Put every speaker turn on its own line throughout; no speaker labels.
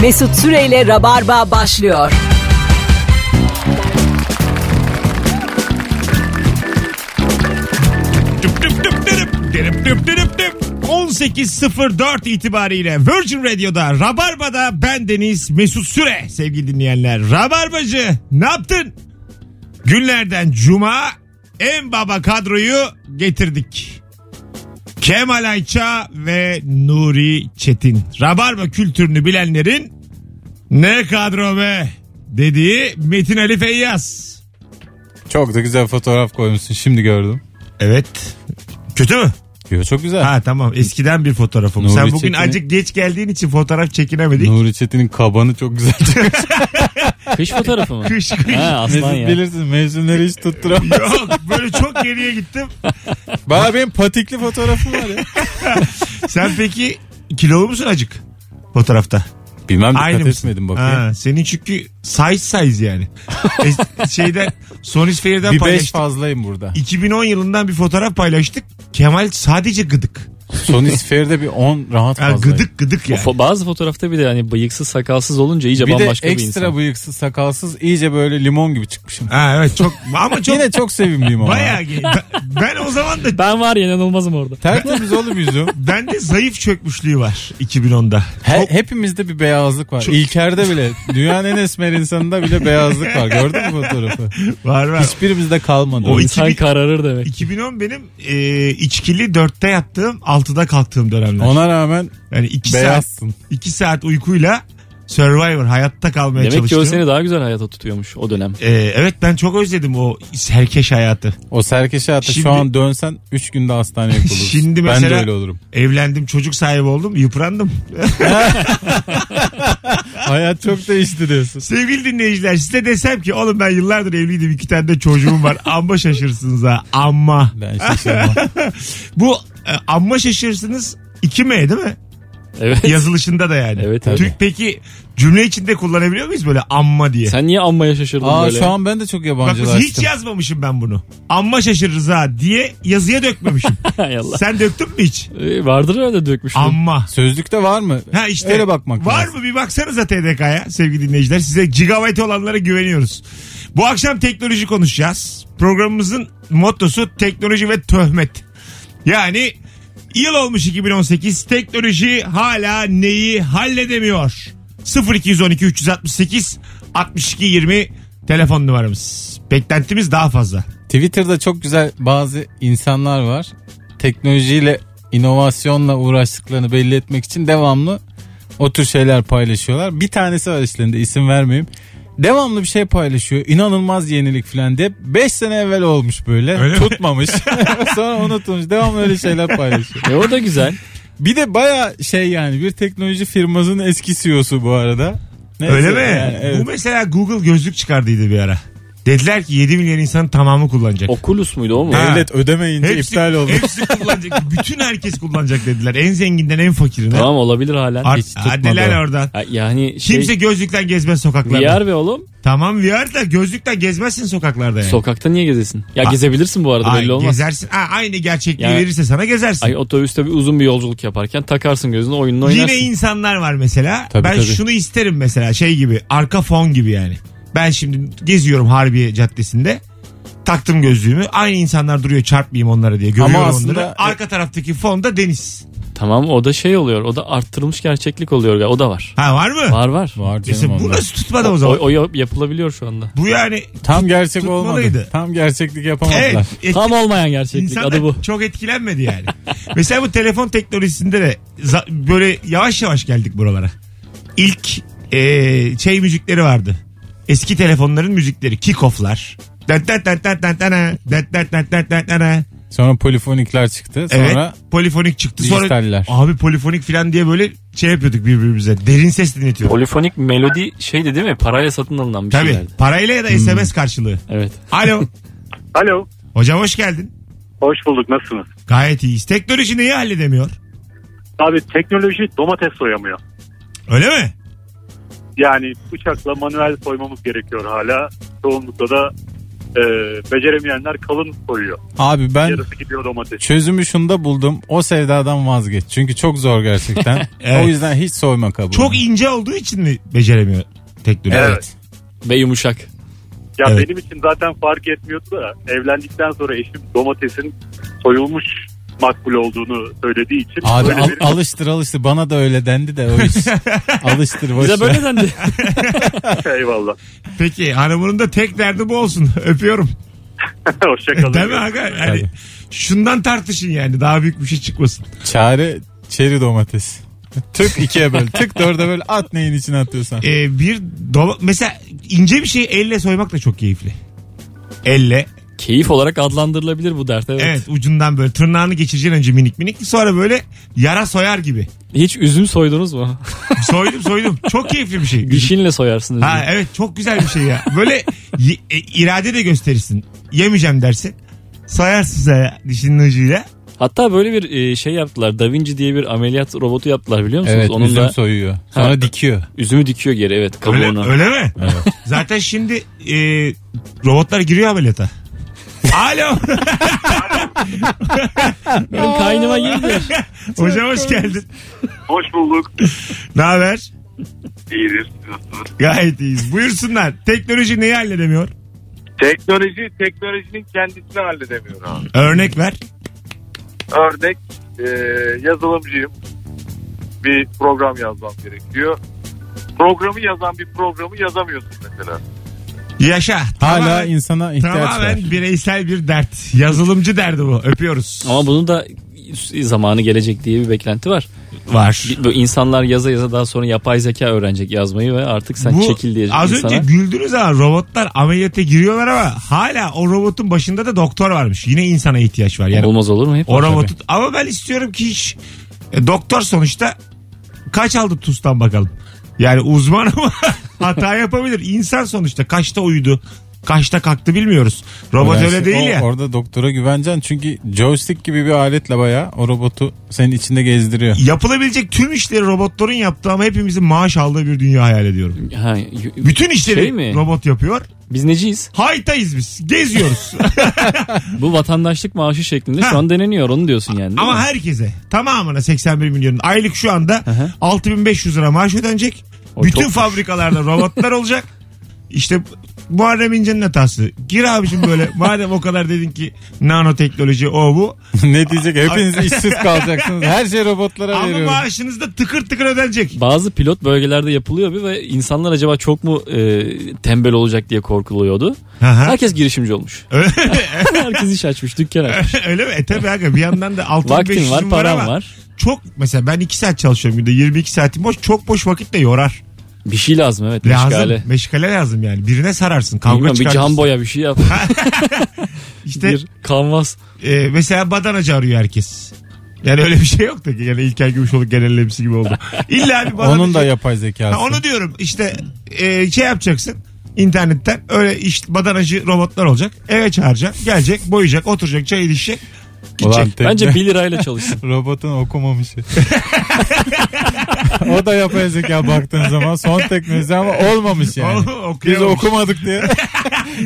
Mesut Süreyle Rabarba başlıyor.
Düp düp düp dürüp, dürüp düp dürüp düp. 18.04 itibariyle Virgin Radio'da Rabarba'da ben Deniz Mesut Süre sevgili dinleyenler. Rabarbacı ne yaptın? Günlerden cuma en baba kadroyu getirdik. Kemal Ayça ve Nuri Çetin. Rabarba kültürünü bilenlerin ne kadro be dediği Metin Ali Feyyaz.
Çok da güzel fotoğraf koymuşsun şimdi gördüm.
Evet. Kötü mü?
Yo, çok güzel.
Ha tamam eskiden bir fotoğrafım.
Nuri
Sen bugün
Çetin'in-
acık geç geldiğin için fotoğraf çekinemedik.
Nuri Çetin'in kabanı çok güzel.
Kış fotoğrafı mı?
Kış kış.
Ha, aslan
Mesut
ya.
bilirsin mevsimleri hiç tutturamam.
Yok böyle çok geriye gittim.
Bana benim patikli fotoğrafım var ya.
Sen peki kilolu musun acık fotoğrafta?
Bilmem dikkat
Aynı mısın?
etmedim bakayım.
Ha, senin çünkü size size yani. Es- şeyden Sonis Fair'den
Bir beş
paylaştık.
fazlayım burada.
2010 yılından bir fotoğraf paylaştık. Kemal sadece gıdık.
Son isferde bir on rahat
Ha,
fazlayım.
gıdık gıdık yani.
Fo- Bazı fotoğrafta bir de hani bıyıksız sakalsız olunca iyice
Bir de
bambaşka bir
ekstra
insan.
bıyıksız sakalsız iyice böyle limon gibi çıkmışım.
Ha, evet çok ama çok
Yine çok sevimliyim ama.
bayağı ge- ben, ben o zaman da
Ben var ya inanılmazım orada.
Tertemiz oğlum yüzüm.
bende zayıf çökmüşlüğü var 2010'da.
He- hepimizde bir beyazlık var.
Çok-
İlker'de bile. Dünyanın en esmer insanında bile beyazlık var. Gördün mü fotoğrafı?
Var var.
Hiçbirimizde kalmadı.
O
İnsan
2000
kararır demek.
2010 benim e, içkili 4'te yattığım 6'da kalktığım dönemler.
Ona rağmen
yani 2 saat
beyazsın.
2 saat uykuyla Survivor hayatta kalmaya
Demek ki
çalıştım.
o seni daha güzel hayata tutuyormuş o dönem.
E, evet ben çok özledim o herkeş hayatı.
O serkeşe hatta
Şimdi-
şu an dönsen 3 günde hastaneye kurulursun.
Şimdi
Ben de
mesela-
öyle olurum.
Evlendim çocuk sahibi oldum yıprandım.
Hayat çok değişti diyorsun.
Sevgili dinleyiciler size desem ki oğlum ben yıllardır evliydim iki tane de çocuğum var amma şaşırsınız ha amma.
Ben şaşırmam.
Bu e, amma şaşırsınız 2M değil mi?
Evet.
Yazılışında da yani.
Evet, tabii.
Türk peki cümle içinde kullanabiliyor muyuz böyle amma diye?
Sen niye anmaya şaşırdın
Aa
böyle?
şu an ben de
Bak
çok
biz hiç
yabancılaştım.
yazmamışım ben bunu. Amma şaşırırız ha diye yazıya dökmemişim.
Hay Allah.
Sen döktün mü hiç?
Ee, vardır öyle dökmüştüm.
Amma.
Sözlükte var mı?
Ha işte.
Öyle bakmak
Var
lazım.
mı bir baksanıza TDK'ya sevgili dinleyiciler. Size gigabyte olanlara güveniyoruz. Bu akşam teknoloji konuşacağız. Programımızın mottosu teknoloji ve töhmet. Yani yıl olmuş 2018 teknoloji hala neyi halledemiyor? 0212 368 62 20 telefon numaramız. Beklentimiz daha fazla.
Twitter'da çok güzel bazı insanlar var. Teknolojiyle, inovasyonla uğraştıklarını belli etmek için devamlı o tür şeyler paylaşıyorlar. Bir tanesi var işlerinde isim vermeyeyim. Devamlı bir şey paylaşıyor. İnanılmaz yenilik falan diye. 5 sene evvel olmuş böyle.
Öyle mi?
Tutmamış. Sonra unutulmuş. Devamlı öyle şeyler paylaşıyor.
E o da güzel.
Bir de baya şey yani bir teknoloji firmasının eski CEO'su bu arada. Neyse
Öyle mi?
yani evet.
Bu mesela Google gözlük çıkardıydı bir ara. Dediler ki 7 milyon insan tamamı kullanacak.
Oculus muydu o mu?
Ha.
Devlet ödemeyince iptal oldu.
Hepsi kullanacak. Bütün herkes kullanacak dediler. En zenginden en fakirine.
Tamam olabilir halen.
Ar-
Hiç tutmadı
hadi lan
o.
oradan.
Ha, Yani şey,
Kimse gözlükten gezmez sokaklarda.
VR ve oğlum
Tamam VR da gözlükten gezmezsin sokaklarda yani.
sokakta niye gezesin? Ya
Ha.
gezebilirsin bu arada
Ay,
belli olmaz.
Gezersin. Ha, aynı gerçekliği
Yani-
verirse sana gezersin.
Ay otobüste bir uzun bir yolculuk yaparken takarsın gözünü oyununu oynarsın.
Yine insanlar var mesela.
Tabii,
ben
tabii.
şunu isterim mesela şey gibi arka fon gibi yani. Ben şimdi geziyorum Harbiye Caddesi'nde. Taktım gözlüğümü. Aynı insanlar duruyor çarpmayayım onlara diye. Görüyorum
aslında-
onları. Arka taraftaki fonda deniz.
Tamam o da şey oluyor. O da arttırılmış gerçeklik oluyor. galiba, O da var.
Ha var mı?
Var var.
Var canım
Mesela bu
onlar.
nasıl tutmadı o zaman?
O, o yap- yapılabiliyor şu anda.
bu yani
Tam gerçek
tutmalıydı.
olmadı. Tam gerçeklik yapamadılar.
evet, etki-
Tam olmayan gerçeklik
İnsan
adı bu.
da çok etkilenmedi yani. Mesela bu telefon teknolojisinde de za- böyle yavaş yavaş geldik buralara. İlk eee, şey müzikleri vardı. Eski telefonların müzikleri. Kickoff'lar. Dat dat dat dat dat dana, dat dat dat dat dat dana.
Sonra polifonikler çıktı.
Evet.
Sonra
Polifonik çıktı. Sonra
dijitaller.
abi polifonik falan diye böyle şey yapıyorduk birbirimize. Derin ses dinletiyorduk.
Polifonik melodi şeydi değil mi? Parayla satın alınan bir
Tabii.
şeylerdi.
Parayla ya da SMS karşılığı.
Evet.
Alo.
Alo.
Hocam hoş geldin.
Hoş bulduk. Nasılsınız?
Gayet iyiyiz. Teknoloji neyi halledemiyor?
Abi teknoloji domates soyamıyor.
Öyle mi?
Yani bıçakla manuel soymamız gerekiyor hala. Çoğunlukla da e, beceremeyenler kalın soyuyor.
Abi ben
Yarısı gidiyor domates.
çözümü şunda buldum. O sevdadan vazgeç. Çünkü çok zor gerçekten.
Evet.
O yüzden hiç soyma kabuğunu.
Çok ince olduğu için mi beceremiyor teknoloji?
Evet.
Ve yumuşak.
Ya
Evet.
benim için zaten fark etmiyordu da evlendikten sonra eşim domatesin soyulmuş makbul olduğunu söylediği için
Abi
böyle
al-
bir-
alıştır alıştır. Bana da öyle dendi de o iş. alıştır boş
Bize
ver.
böyle dendi.
şey, eyvallah.
Peki hanımının da tek derdi bu olsun. Öpüyorum.
Hoşçakalın.
Değil mi aga? Yani
Tabii.
şundan tartışın yani daha büyük bir şey çıkmasın.
Çare çeri domates. Tık ikiye böl. Tık dörde böl. At neyin içine atıyorsan.
Ee, bir doma- mesela ince bir şeyi elle soymak da çok keyifli. Elle.
Keyif olarak adlandırılabilir bu dert. Evet.
Evet. ucundan böyle tırnağını geçireceksin önce minik minik sonra böyle yara soyar gibi.
Hiç üzüm soydunuz mu?
Soydum soydum. çok keyifli bir şey.
Dişinle soyarsınız.
Ha evet çok güzel bir şey ya. Böyle y- e, irade de gösterirsin. Yemeyeceğim dersin. Sayarsın sana dişinin ucuyla.
Hatta böyle bir e, şey yaptılar. Da Vinci diye bir ameliyat robotu yaptılar biliyor musunuz?
Evet
Onunla
üzüm soyuyor. Sonra
Ha.
dikiyor.
üzümü dikiyor geri evet
Öyle,
kabuğuna.
öyle mi? Zaten şimdi e, robotlar giriyor ameliyata. Alo.
Benim kaynıma girdi.
Hocam hoş geldin.
Hoş bulduk.
Ne haber?
İyidir.
Gayet iyiyiz. Buyursunlar. Teknoloji neyi halledemiyor?
Teknoloji teknolojinin kendisini halledemiyor abi.
Örnek ver.
Örnek e, yazılımcıyım. Bir program yazmam gerekiyor. Programı yazan bir programı yazamıyorsun mesela.
Yaşa.
Hala
Tamamen-
insana ihtiyaç var.
Tamamen bireysel bir dert. Yazılımcı derdi bu. Öpüyoruz.
Ama bunun da zamanı gelecek diye bir beklenti var.
Var.
Bir- Böyle insanlar yaza yaza daha sonra yapay zeka öğrenecek yazmayı ve artık sen
Bu-
çekil diyecek
Az
insana.
önce güldünüz ama robotlar ameliyata giriyorlar ama hala o robotun başında da doktor varmış. Yine insana ihtiyaç var. Yani
Olmaz olur mu hep?
o robotu. Ama ben istiyorum ki hiç e, doktor sonuçta kaç aldı TUS'tan bakalım. Yani uzman ama hata yapabilir. İnsan sonuçta kaçta uyudu, kaçta kalktı bilmiyoruz. Robot
Yani
öyle
şey-
değil
o-
ya.
Orada doktora güveneceksin çünkü joystick gibi bir aletle bayağı o robotu senin içinde gezdiriyor.
Yapılabilecek tüm işleri robotların yaptığı ama hepimizin maaş aldığı bir dünya hayal ediyorum.
Ha, y-
Bütün işleri
Şey mi?
robot yapıyor.
Biz neciyiz?
Haytayız biz. Geziyoruz.
Bu vatandaşlık maaşı şeklinde
Ha.
şu an deneniyor onu diyorsun yani. değil
Ama
mi?
herkese tamamına 81 milyonun aylık şu anda
hı.
6500 lira maaş ödenecek.
O
Bütün
çokmuş.
fabrikalarda robotlar olacak. İşte Muharrem İnce'nin hatası. Gir abicim böyle madem o kadar dedin ki nanoteknoloji o bu.
ne diyecek hepiniz işsiz kalacaksınız. Her şey robotlara
Ama
veriyorum.
maaşınız da tıkır tıkır ödenecek.
Bazı pilot bölgelerde yapılıyor bir ve insanlar acaba çok mu e, tembel olacak diye korkuluyordu.
Hı hı.
Herkes girişimci olmuş. Herkes iş açmış, dükkan açmış.
Öyle mi? E tabii aga bir yandan da 6500
Vaktin var,
param
param var.
Çok mesela ben 2 saat çalışıyorum günde 22 saatim boş. Çok boş vakit de yorar.
Bir şey lazım evet.
Lazım.
meşgale.
Meşgale, lazım yani. Birine sararsın. Kavga
Bilmiyorum, bir
çıkartırsın.
cam boya bir şey yap.
İşte
bir kanvas.
e, mesela badanacı arıyor herkes. Yani öyle bir şey yok da ki. Yani İlker Gümüşoluk genellemesi gibi oldu. İlla bir badanacı.
Onun da yapay zekası.
Ha, onu diyorum işte e, şey yapacaksın internetten öyle işte badanacı robotlar olacak. Eve çağıracak, gelecek, boyayacak, oturacak, çay ilişecek.
Ulan tekne-
Bence 1 lirayla çalışsın.
robotun okumamışı. o da yapay zeka baktığın zaman son teknoloji ama olmamış yani.
Oğlum,
Biz
okuyamamış.
okumadık diye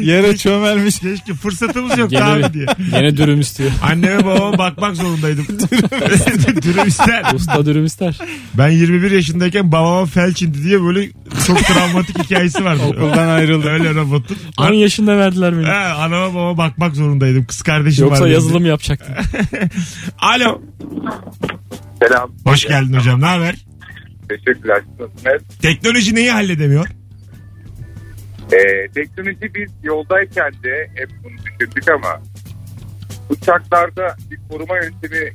yere çömelmiş.
Keşke fırsatımız yok
Gene
abi
bir-
diye.
Yine dürüm istiyor.
Anneme babama bakmak zorundaydım. Dürüm ister.
Usta dürüm ister.
Ben 21 yaşındayken babama felç indi diye böyle çok travmatik hikayesi vardı.
Okuldan ayrıldı.
Öyle robotun.
10 yaşında verdiler beni.
Ha, anama babama bakmak zorundaydım. Kız kardeşim
Yoksa
var.
yazılım yapacaktım.
Alo.
Selam.
Hoş geldin hocam. Ne haber?
Teşekkürler. Nasılsınız?
Teknoloji neyi halledemiyor?
Ee, teknoloji biz yoldayken de hep bunu düşündük ama uçaklarda bir koruma yöntemi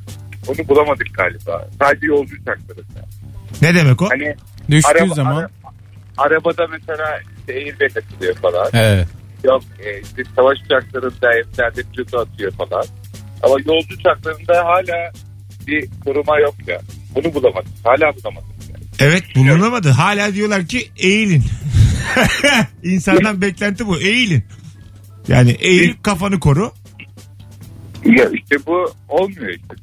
onu bulamadık galiba. Sadece yolcu uçaklarında.
Ne demek o?
Hani
Düştüğü
araba-
zaman.
ara- arabada mesela işte airbag atılıyor falan.
Evet.
Yok e, işte savaş uçaklarında evlerde pilotu atıyor falan. Ama yolcu uçaklarında hala bir koruma yok ya. Bunu bulamadık. Hala bulamadık.
Evet bulunamadı. Hala diyorlar ki eğilin. İnsandan beklenti bu. Eğilin. Yani eğil kafanı koru.
Ya işte bu olmuyor işte.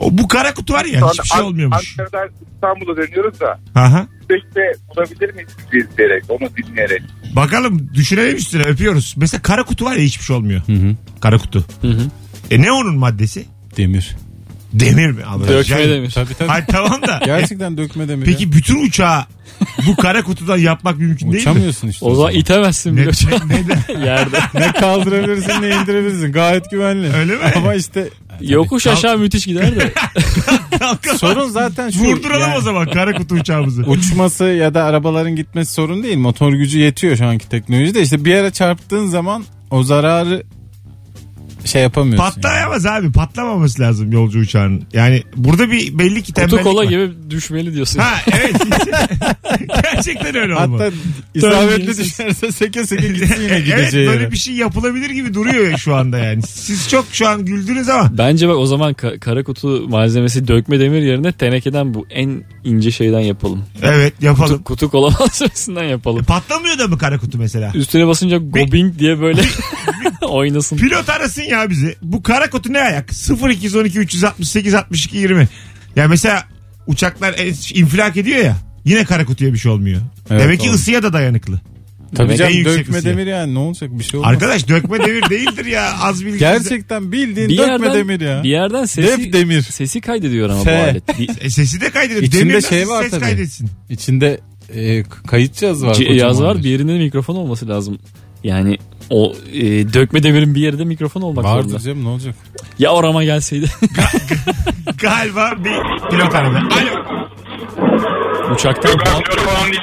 O, bu kara kutu var ya hiçbir şey
An-
olmuyormuş.
Ankara'dan İstanbul'a dönüyoruz da
Aha.
işte bulabilir miyiz biz diyerek, onu dinleyerek.
Bakalım düşünelim üstüne öpüyoruz. Mesela kara kutu var ya hiçbir şey olmuyor. Kara kutu. E ne onun maddesi?
Demir.
Demir mi? Allah
Dökme
Yani-
demir.
Tabii tabii.
Ay tamam da.
Gerçekten dökme demir. ya.
Peki bütün uçağı bu kara kutudan yapmak mümkün değil mi?
Uçamıyorsun işte.
O zaman itemezsin
Ne,
bile uçağı
neden?
yerde.
ne kaldırabilirsin ne indirebilirsin. Gayet güvenli.
Öyle mi?
Ama işte
Hani
Yokuş aşağı müthiş gider de.
Kalkamaz.
sorun zaten şu.
Vurduralım
yani
o zaman kara kutu uçağımızı.
Uçması ya da arabaların gitmesi sorun değil. Motor gücü yetiyor şu anki teknolojide. İşte bir yere çarptığın zaman o zararı şey yapamıyorsun. yani.
Patlayamaz abi. Patlamaması lazım yolcu uçağının. Yani burada bir belli ki tembellik
Kutu kola
var.
gibi düşmeli diyorsun.
Ha evet. Gerçekten öyle olmalı. E,
Hatta isabetli düşerse seke seke gitsin yine
evet
gideceği
böyle
yere.
bir şey yapılabilir gibi duruyor ya şu anda yani. Siz çok şu an güldünüz ama
Bence bak o zaman ka- kara kutu malzemesi dökme demir yerine tenekeden bu en ince şeyden yapalım.
evet yapalım. E,
Kutu, kutu kola malzemesinden yapalım.
Patlamıyor da mı kara kutu mesela?
Üstüne basınca gobing diye böyle oynasın.
Pilot arasın ya bizi. Bu kara kutu ne ayak? 0212 368 62 20. Ya mesela uçaklar en- infilak ediyor ya. Yine kara kutuya bir şey olmuyor.
Evet,
Demek ki
olmuş.
ısıya da dayanıklı.
Tabii
En
canım
yüksek
dökme
ısıya.
demir yani ne olacak bir şey olmaz.
Arkadaş dökme devir değildir ya. Az bilgi.
Gerçekten bildiğin
Bir
dökme
yerden,
demir ya.
bir yerden sesi,
Def demir.
sesi kaydediyor ama
F.
bu alet. Bir-
E, sesi de kaydediyor.
İçinde
Demir
şey
nasıl
var
ses
tabii.
kaydetsin.
İçinde e, k- kayıt cihazı var.
C-
kocaman
yaz var bir yerinde de mikrofon olması lazım. Yani o e, dökme demirin bir yerinde mikrofon olmak
Vardır
zorunda.
canım ne olacak?
Ya orama gelseydi.
Galiba bir pilot arada. Alo.
Uçaktan
Ben pilot falan değilim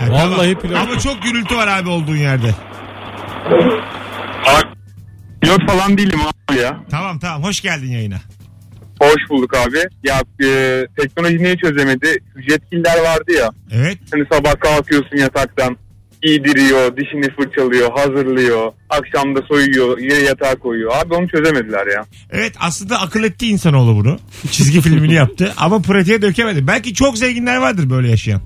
ya.
Ha,
Vallahi
tamam.
pilot.
Ama çok gürültü var abi olduğun yerde.
Abi, pilot falan değilim abi ya.
Tamam tamam hoş geldin yayına.
Hoş bulduk abi. Ya e, teknoloji niye çözemedi? Jetkiller vardı ya.
Evet.
Hani sabah kalkıyorsun yataktan. giydiriyor, dişini fırçalıyor, hazırlıyor. Akşam da soyuyor, yere yatağa koyuyor. Abi onu çözemediler ya.
Evet aslında akıl etti insanoğlu bunu. Çizgi filmini yaptı ama pratiğe dökemedi. Belki çok zenginler vardır böyle yaşayan.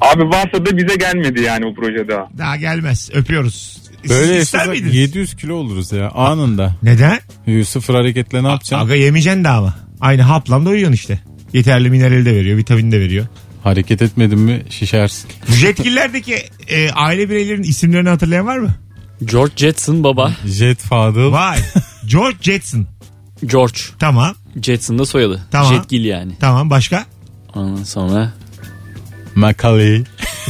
Abi varsa da bize gelmedi yani bu proje daha.
Daha gelmez. Öpüyoruz. Siz
Böyle
ister
yaşasak
miydiniz?
700 kilo oluruz ya anında.
Neden?
Ee, Sıfır hareketle ne yapacaksın?
Aga yemeyeceksin daha ama. Aynı haplamda uyuyorsun işte. Yeterli minerali de veriyor, vitamin de veriyor.
Hareket etmedin mi şişersin.
Jetkillerdeki e, aile bireylerinin isimlerini hatırlayan var mı?
George Jetson baba.
Jet Fadıl.
Vay. George Jetson.
George.
Tamam.
Jetson da soyadı.
Tamam.
Jetgil yani.
Tamam başka?
Ondan sonra.
Macaulay.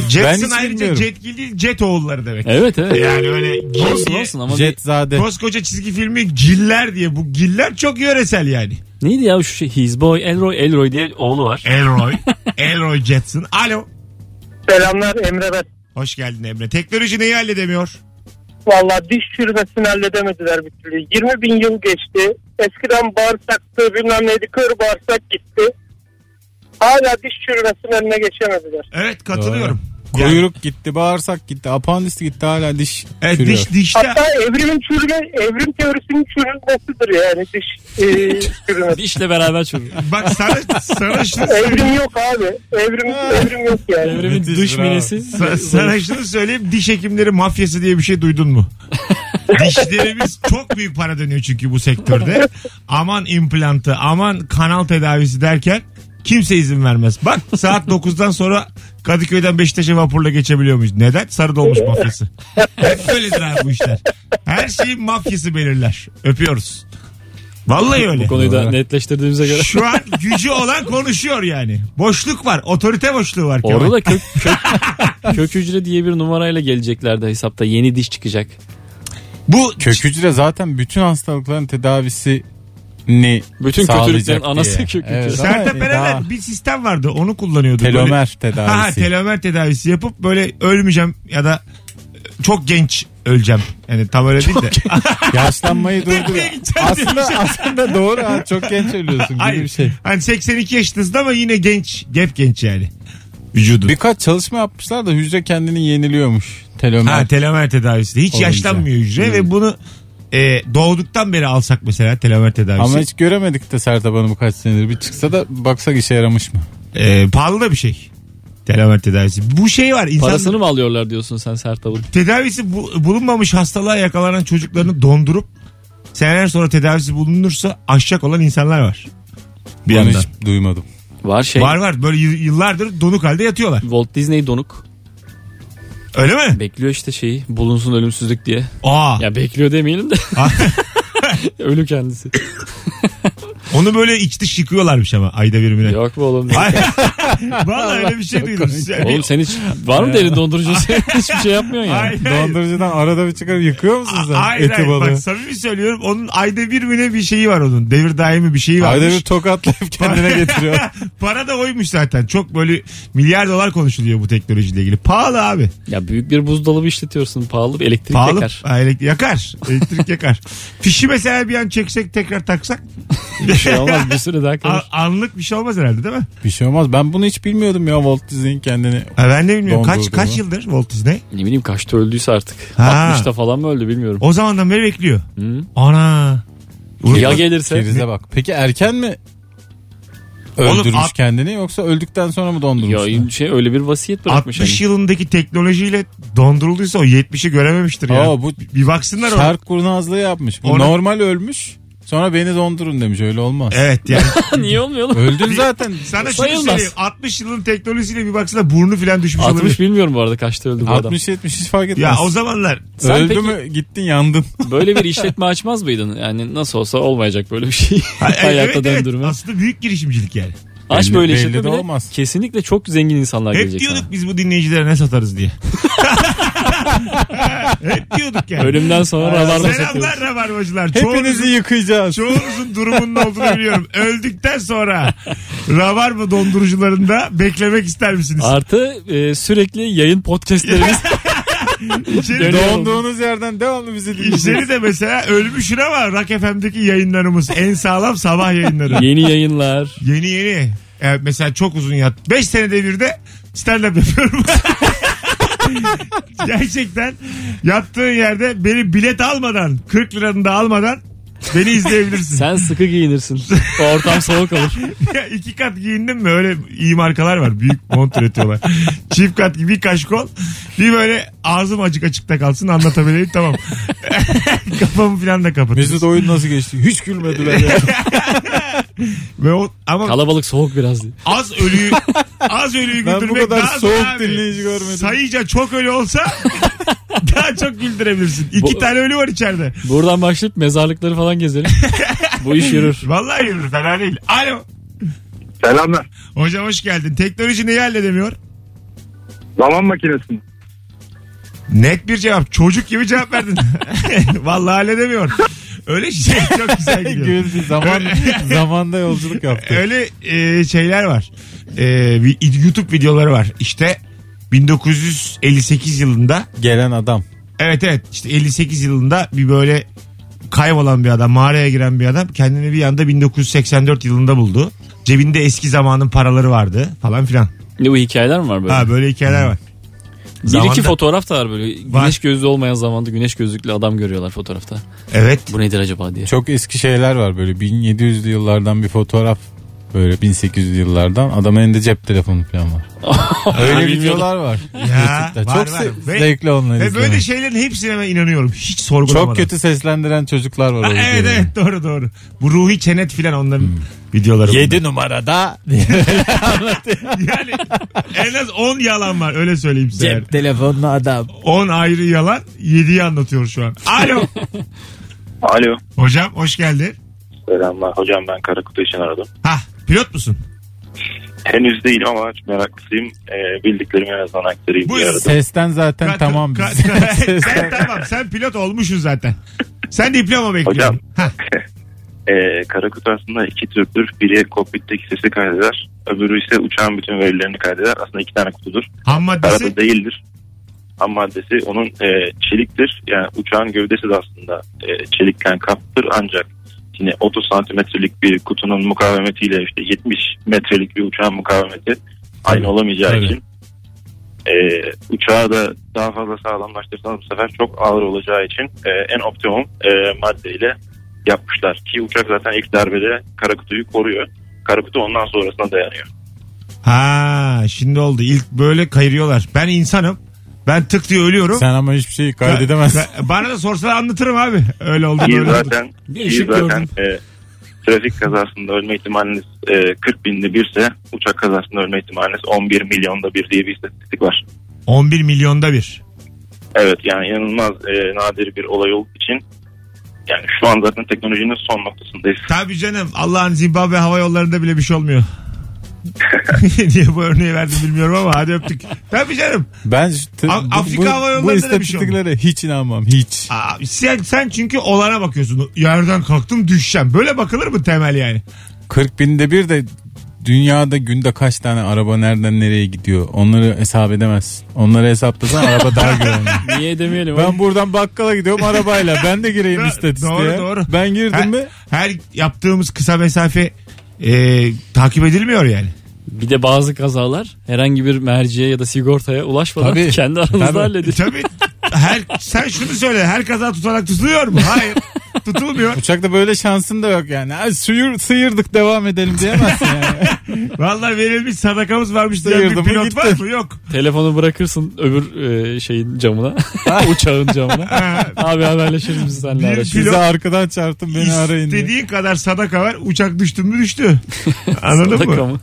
Jetson
hiç
ayrıca
bilmiyorum.
Jetgil değil Jet oğulları demek.
Evet evet.
Yani öyle gil
Olsun
diye-
olsun ama bir-
Jetzade.
Koskoca çizgi filmi Giller diye. Bu Giller çok yöresel yani.
neydi ya şu şey His Boy Elroy Elroy diye oğlu var.
Elroy. Elroy Jetson. Alo.
Selamlar Emre ben.
Hoş geldin Emre. Teknoloji neyi halledemiyor?
Valla diş çürümesini halledemediler bir türlü. 20 bin yıl geçti. Eskiden bağırsaktı bilmem neydi kır bağırsak gitti. Hala diş çürümesinin önüne geçemediler.
Evet katılıyorum. Yani-
Kuyruk gitti, bağırsak gitti, apandis gitti hala diş
Evet,
çürüyor.
E, diş dişte
Hatta evrimin çürüme, evrim teorisinin çürülmesidir yani diş e, çürümesi.
Dişle beraber çürüyor.
bak sana sana şunu söyleyeyim.
Evrim yok abi. Evrim, evrim yok yani.
Devrimin
Müthiş,
dış
bravo.
minesi.
Sa- sana şunu söyleyeyim. Diş hekimleri mafyası diye bir şey duydun mu? Dişlerimiz çok büyük para dönüyor çünkü bu sektörde. Aman implantı, aman kanal tedavisi derken kimse izin vermez. Bak saat 9'dan sonra Kadıköy'den Beşiktaş'a vapurla geçebiliyor muyuz? Neden? Sarı dolmuş mafyası. Hep böyledir abi bu işler. Her şeyin mafyası belirler. Öpüyoruz. Vallahi öyle.
Bu konuyu da
Doğru.
netleştirdiğimize göre.
Şu an gücü olan konuşuyor yani. Boşluk var. Otorite boşluğu var. Kemal.
Orada da kök, kök, kök hücre diye bir numarayla geleceklerdi hesapta. Yeni diş çıkacak.
Bu
Kök hücre zaten bütün hastalıkların tedavisini
Bütün
sağlayacak
kötülüklerin anası
diye.
kök hücre.
Evet, ama
Sertab
daha
Erener bir sistem vardı. Onu kullanıyordu. Böyle-
Telomer
Ha,
tedavisi.
telomer tedavisi yapıp böyle ölmeyeceğim ya da e, çok genç öleceğim. Yani tam öyle değil de.
Yaşlanmayı durdur.
Nereye gideceğim diye bir
aslında
şey.
aslında doğru ha çok genç ölüyorsun gibi bir
Hayır.
şey.
Hani 82 yaşındasın ama yine genç. Gep genç yani. Vücudu.
Birkaç çalışma yapmışlar da hücre kendini yeniliyormuş. Telomer.
Ha, telomer tedavisi. Hiç
Olunca.
yaşlanmıyor hücre ve bunu e, doğduktan beri alsak mesela telomer tedavisi.
Ama hiç göremedik de Sertab Hanım'ı kaç senedir. Bir çıksa da baksak işe yaramış mı?
E, pahalı da bir şey. Telomer tedavisi. Bu şey var. insan
Parasını mı alıyorlar diyorsun sen Sertab'ın?
tedavisi bu- bulunmamış hastalığa yakalanan çocuklarını dondurup seneler sonra tedavisi bulunursa aşacak olan insanlar var. Bir
Onu
yandan.
hiç duymadım.
Var şey.
Var var böyle y- yıllardır donuk halde yatıyorlar.
Walt Disney donuk.
Öyle mi?
Bekliyor işte şeyi bulunsun ölümsüzlük diye.
Aa.
Ya bekliyor demeyelim de. Ölü kendisi.
Onu böyle iç dış yıkıyorlarmış ama ayda bir bile.
Yok mu oğlum?
Hayır. Vallahi öyle bir şey duydum.
Oğlum sen hiç var mı derin dondurucu? Sen hiçbir şey yapmıyorsun ya.
Hayır, hayır.
Dondurucudan arada bir çıkarıp yıkıyor musun sen
Hayır
eti
hayır
balığı?
bak samimi söylüyorum onun ayda bir güne bir şeyi var onun devir daimi bir şeyi varmış.
Ayda bir tokatlayıp kendine getiriyor.
Para da oymuş zaten çok böyle milyar dolar konuşuluyor bu teknolojiyle ilgili pahalı abi
Ya büyük bir buzdolabı işletiyorsun. Pahalı bir elektrik
pahalı
yakar.
Ha, elek- yakar elektrik yakar fişi mesela bir an çeksek tekrar taksak
Bir şey olmaz bir süre daha kalır.
A- anlık bir şey olmaz herhalde değil mi?
bir şey olmaz. Ben bunu hiç bilmiyordum ya Walt Disney'in kendini.
Ha, ben de bilmiyorum kaç
Dondurdu
kaç
mu?
yıldır Walt Disney
Ne bileyim kaçta öldüyse artık.
Ha.
60'ta falan mı öldü bilmiyorum.
o zamandan beri bekliyor
Hı.
ana
Ya gelirse
Kerize bak. Peki erken mi
Oğlum,
öldürmüş
at-
kendini yoksa öldükten sonra mı dondurmuş?
ya şey öyle bir vasiyet bırakmış.
60
yani.
yılındaki teknolojiyle dondurulduysa o 70'i görememiştir ya.
Aa, bu
bir baksınlar ona.
Şark kurnazlığı yapmış. Bu
Onu-
normal ölmüş. Sonra beni dondurun demiş. Öyle olmaz.
Evet yani.
Niye olmuyor oğlum?
Öldün zaten.
Sana şunu
Sayılmaz.
söyleyeyim. 60 yılın teknolojisiyle bir baksana burnu falan düşmüş
60
olabilir.
bilmiyorum bu arada kaçta öldü bu adam.
60-70 hiç fark etmez.
Ya o zamanlar
Sen
Öldü
peki-
mü gittin yandın.
Böyle bir işletme açmaz mıydın? Yani nasıl olsa olmayacak böyle bir şey.
Ha, evet,
Hayata
evet, evet.
döndürme.
Aslında büyük girişimcilik yani.
Aç
Belli-
böyle
belli
işletme
de
bile
olmaz.
kesinlikle çok zengin insanlar
Hep
gelecek.
diyorduk biz bu dinleyicilere ne satarız diye. Hep diyorduk
sana.
yani.
Ölümden sonra rabarba satıyor.
Selamlar rabarbacılar. Çoğunuz-
Hepinizi yıkayacağız.
Çoğunuzun durumunun olduğunu biliyorum. Öldükten sonra rabarba dondurucularında beklemek ister misiniz?
Artı e, sürekli yayın podcastlerimiz
İçeri,
Dön-
Donduğunuz yerden devamlı bizi dinleyeceğiz.
içeri de mesela ölmüşsün ama Rock FM'deki yayınlarımız en sağlam sabah yayınları.
yeni yayınlar.
Yeni yeni. Evet, mesela çok uzun yat. 5 senede bir de stand-up yapıyorum. Gerçekten yattığın yerde beni bilet almadan 40 liranı da almadan beni izleyebilirsin.
Sen sıkı giyinirsin. Ortam soğuk olur.
Ya iki kat giyindim mi öyle iyi markalar var. Büyük mont üretiyorlar. Çift kat gibi bir kaşkol. Bir böyle ağzım acık açıkta kalsın anlatabileyim tamam. Kafamı falan da kapatırız.
Mesut oyun nasıl geçti? Hiç gülmediler ya.
Ve o, ama
Kalabalık soğuk biraz diye.
az ölüyü az ölüyü
Ben bu
güldürmek
kadar
daha zor
soğuk
abi.
dinleyici görmedim.
Sayıca çok ölü olsa daha çok güldürebilirsin. İki
Bu-
tane ölü var içeride.
Buradan başlayıp mezarlıkları falan gezelim. Bu iş yürür.
Vallahi yürür fena değil. Alo.
Selamlar.
Hocam hoş geldin. Teknoloji neyi halledemiyor?
Zaman makinesi.
Net bir cevap. Çocuk gibi cevap verdin. Vallahi halledemiyor. Öyle şey çok güzel gidiyor.
Güldü. Zaman, zamanda yolculuk yaptı.
Öyle e, şeyler var. E, bir YouTube videoları var. İşte 1958 yılında
Gelen adam.
Evet evet işte 58 yılında bir böyle kaybolan bir adam mağaraya giren bir adam kendini bir anda 1984 yılında buldu. Cebinde eski zamanın paraları vardı falan filan.
Ne bu hikayeler mi var böyle?
Ha böyle hikayeler var.
bir
zamanda-
iki fotoğraf da var böyle. Güneş gözlü olmayan zamanda güneş gözlüklü adam görüyorlar fotoğrafta.
Evet.
Bu nedir acaba diye.
Çok eski şeyler var böyle 1700'lü yıllardan bir fotoğraf böyle 1800'lü yıllardan adamın elinde cep telefonu falan var. Öyle
bilmiyordum.
videolar var.
Ya,
YouTube'da.
var,
Çok
var.
se-
Ve-
zevkli onları
Ve
izlemek.
böyle şey- şeylerin hepsine ben inanıyorum. Hiç sorgulamadan.
Çok kötü seslendiren çocuklar var.
Ha,
orada.
evet evet doğru doğru. Bu Ruhi Çenet filan onların videoları.
Yedi numarada
bunlar. Yani en az 10 yalan var öyle söyleyeyim size. yani.
cep telefonlu adam.
10 ayrı yalan 7'yi anlatıyor şu an. Alo.
Alo.
Hocam hoş geldin.
Selamlar. Hocam ben Karakutu için aradım.
Ha pilot musun?
Henüz değil ama meraklısıyım. Ee, bildiklerimi en azından aktarayım
Buyurun.
diye aradım.
Sesten zaten
Ka-
tamam
ka-
biz.
ka- sen,
Sesten-
tamam sen pilot olmuşsun zaten. Sen diploma bekliyorsun.
Hocam.
Hah,
Ee, Karakutu aslında iki türdür. Biri kokpitteki sesi kaydeder. Öbürü ise uçağın bütün verilerini kaydeder. Aslında iki tane kutudur.
ham maddesi
Arada değildir. Ham maddesi onun e, çeliktir. Yani uçağın gövdesi de aslında e, çelikten kaptır ancak yine 30 santimetrelik bir kutunun mukavemetiyle işte 70 metrelik bir uçağın mukavemeti aynı olamayacağı
Tabii.
için e, uçağı da daha fazla sağlamlaştırsanız bu sefer çok ağır olacağı için e, en optimum e, maddeyle yapmışlar. Ki uçak zaten ilk darbede kara kutuyu koruyor. Kara kutu ondan sonrasına dayanıyor.
Ha şimdi oldu. İlk böyle kayırıyorlar. Ben insanım. Ben tık diye ölüyorum.
Sen ama hiçbir şeyi kaydedemezsin.
Ben- Bana da sorsalar anlatırım abi. Öyle oldu.
Ki
böyle oldu.
zaten
Bir
Ki
ışık
zaten
gördüm.
e, trafik kazasında ölme ihtimaliniz e, 40 binde birse uçak kazasında ölme ihtimaliniz 11 milyonda bir diye bir istatistik var.
11 milyonda bir.
Evet yani inanılmaz e, nadir bir olay olduğu için yani şu an zaten teknolojinin son noktasındayız.
Tabii canım Allah'ın Zimbabwe hava yollarında bile bir şey olmuyor. Niye bu örneği verdim bilmiyorum ama hadi öptük. Tabii canım.
Ben şu-
A-
bu-
Afrika
bu,
Hava
bu
Yolları'nda da bir şey olmuyor.
istatistiklere hiç inanmam hiç.
Aa, sen, sen çünkü olana bakıyorsun. Yerden kalktım düşeceğim. Böyle bakılır mı temel yani?
40 binde bir de dünyada günde kaç tane araba nereden nereye gidiyor onları hesap edemezsin. Onları hesaplasan araba daha görünür.
Niye demeyelim?
Ben buradan bakkala gidiyorum arabayla. Ben de gireyim
Do-
istatistiğe.
doğru, doğru.
Ben
Her,
girdim mi?
her yaptığımız kısa mesafe e, takip edilmiyor yani.
Bir de bazı kazalar herhangi bir merciye ya da sigortaya ulaşmadan
Tabii.
kendi aranızda
Tabii.
E,
halledin.
tabii her, sen şunu söyle her kaza tutarak tutuluyor mu? Hayır tutulmuyor.
Uçakta böyle şansın da yok yani. Ay, sıyır, sıyırdık devam edelim diyemezsin yani.
Vallahi verilmiş sadakamız varmış diye bir
Sıyırdı mı
pilot
gitti.
var mı? Yok.
Telefonu bırakırsın öbür e, şeyin camına. Uçağın camına.
Ha,
Abi haberleşiriz biz seninle
Bir
araşırız.
pilot-
Size arkadan çarptım beni arayın diye.
İstediği kadar sadaka var. Uçak düştü mü düştü. Anladın mı?
Rakamı.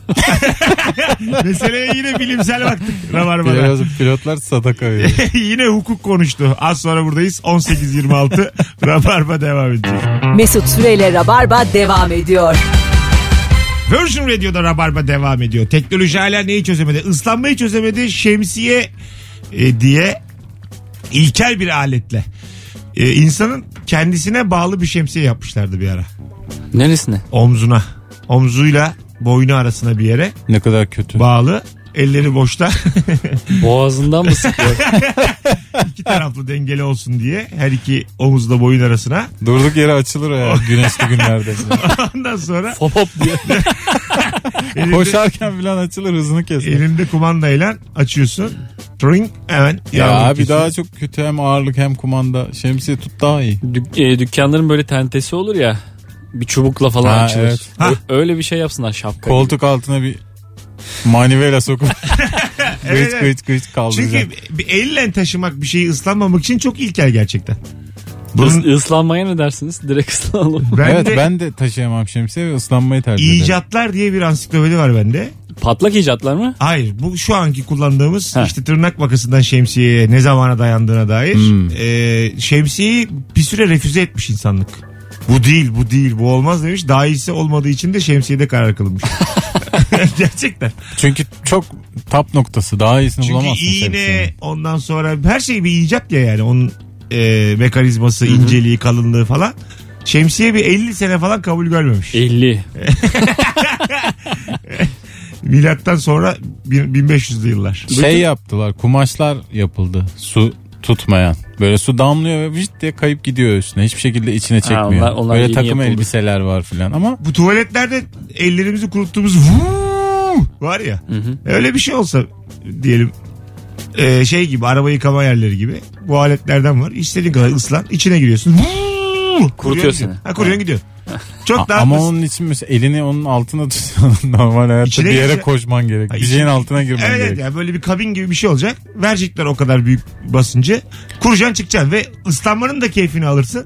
Meseleye yine bilimsel baktık. Rabarba'da.
Biraz pilotlar sadaka veriyor.
yine hukuk konuştu. Az sonra buradayız. 18.26 Rabarba devam edecek.
Mesut Süreyle Rabarba devam ediyor.
Virgin Radio'da Rabarba devam ediyor. Teknoloji hala neyi çözemedi? Islanmayı çözemedi. Şemsiye e, diye ilkel bir aletle. E, insanın kendisine bağlı bir şemsiye yapmışlardı bir ara.
Neresine?
Omzuna. Omzuyla boynu arasına bir yere
ne kadar kötü.
bağlı. Elleri boşta.
Boğazından mı sıkıyor?
iki taraflı dengeli olsun diye. Her iki omuzla boyun arasına.
Durduk yere açılır o ya güneşli günlerde.
Ondan sonra
Hop hop diye.
elinde,
Koşarken falan açılır hızını keser.
elinde kumandayla açıyorsun. Tring hemen.
Ya
yavrum
abi
kesiyor.
daha çok kötü hem ağırlık hem kumanda. Şemsiye tut daha iyi.
Dük- e, dükkanların böyle tentesi olur ya. Bir çubukla falan
Ha,
açılır.
evet.
Ö- Öyle bir şey yapsınlar şapka. gibi.
Koltuk altına bir manivela sokup
Evet,
gıç
evet.
gıç gıç kaldıracak.
Çünkü bir elle taşımak bir şeyi ıslanmamak için çok ilkel gerçekten.
Is-
Bunun
ıslanmaya ne dersiniz? Direkt ıslanalım.
ben
evet
de
ben de taşıyamam şemsiye ve ıslanmayı tercih ederim.
icatlar diye bir ansiklopedi var bende.
Patlak icatlar mı?
Hayır bu şu anki kullandığımız
Ha.
işte tırnak makasından şemsiyeye ne zamana dayandığına dair
Hmm.
e, şemsiyeyi bir süre refüze etmiş insanlık. Bu değil bu değil bu olmaz demiş. Daha iyisi olmadığı için de şemsiyede karar kılınmış. Gerçekten.
Çünkü çok tap noktası daha iyisini
Çünkü
bulamazsın şemsiyenin.
iğne ondan sonra her şey bir icat ya yani onun e, mekanizması, inceliği, kalınlığı falan. Şemsiye bir 50 sene falan kabul
E-
görmemiş.
50.
Milattan sonra bir- 1500'lü yıllar.
Şey yaptılar kumaşlar yapıldı su tutmayan. Böyle su damlıyor ve vıcıt diye kayıp gidiyor üstüne. Hiçbir şekilde içine çekmiyor.
onlar- onlar
Böyle
yeni
takım
yapıldı.
elbiseler var filan ama
Bu tuvaletlerde ellerimizi kuruttuğumuz vuuu var ya. Öyle bir şey olsa diyelim e, şey gibi araba yıkama yerleri gibi bu aletlerden var. İstediğin kadar ıslan içine giriyorsun. Vuuu!
Kurutuyor
Kuruyorsun.
seni.
Ha, kuruyorsun gidiyorsun. Çok
A-
daha
ama
basit.
onun için mesela elini onun altına tutuyorsun. Normal hayatta
İçine
bir yere
girecek.
koşman gerek.
Ha,
Bir
içine-
şeyin altına girmen
Evet
gerek.
evet yani böyle bir kabin gibi bir şey olacak. Verecekler o kadar büyük basıncı. Kuracaksın çıkacaksın ve ıslanmanın da keyfini alırsın.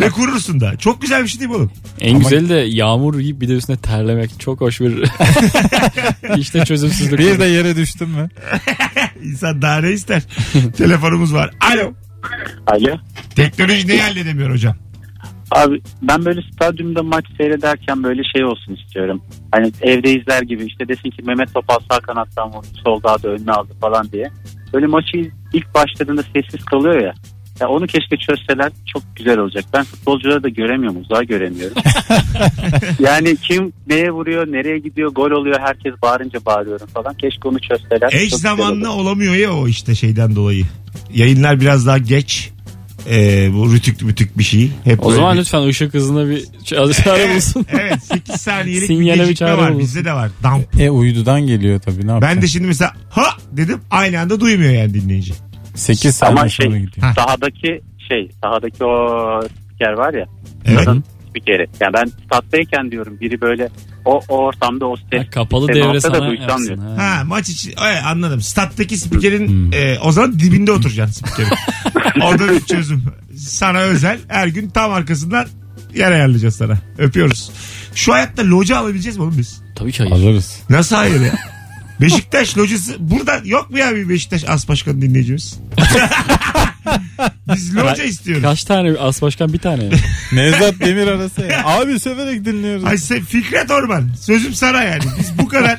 ve kurursun da. Çok güzel bir şey değil mi oğlum?
En güzeli de yağmur yiyip bir de üstüne terlemek. Çok hoş bir işte çözümsüzlük.
Bir de yere düştün mü?
İnsan daha ne ister? Telefonumuz var. Alo.
Alo.
Teknoloji neyi halledemiyor hocam?
Abi ben böyle stadyumda maç seyrederken böyle şey olsun istiyorum. Hani evde izler gibi işte desin ki Mehmet Topal sağ kanattan vurdu sol daha da önüne aldı falan diye. Böyle maçı ilk başladığında sessiz kalıyor ya. Ya onu keşke çözseler çok güzel olacak. Ben futbolcuları da göremiyorum, uzağa göremiyorum. yani kim neye vuruyor, nereye gidiyor, gol oluyor, herkes bağırınca bağırıyorum falan. Keşke onu çözseler. Çok
Eş
güzel olur.
zamanlı olamıyor ya o işte şeyden dolayı. Yayınlar biraz daha geç. Ee, bu rütük mütük bir şey. Hep
O
böyle
zaman
bir-
lütfen ışık hızına bir ç- çare bulsun.
Evet 8 saniyelik
Sinyale
bir
bir
gecikme
çare
var.
bulunsun.
Bizde de var. Damp.
E uydudan geliyor tabii ne
Ben
yapacaksın?
de şimdi mesela ha dedim aynı anda duymuyor yani dinleyici.
8 saniye
Ama şey
sonra gidiyor.
sahadaki şey sahadaki o spiker var ya.
Evet.
Kadın spikeri. Yani ben stat'tayken diyorum biri böyle o, o ortamda o ses.
Ha, kapalı
ses
devre
olsa E, da
sana
duysam
yapsın.
diyor.
ha.
Ha maç için evet, anladım. Stat'taki spikerin e, o zaman dibinde oturacaksın spikerin. Orada bir çözüm. Sana özel her gün tam arkasından yer ayarlayacağız sana. Öpüyoruz. Şu hayatta loca alabileceğiz mi oğlum biz?
Tabii ki hayır.
Alırız.
Nasıl hayır ya? Beşiktaş locası burada yok mu ya bir Beşiktaş as başkanı dinleyicimiz? Biz loca istiyoruz.
Kaç tane as başkan bir tane.
Nevzat Demir arası ya. Abi severek dinliyoruz.
Ay sen Fikret Orman. Sözüm sana yani. Biz bu kadar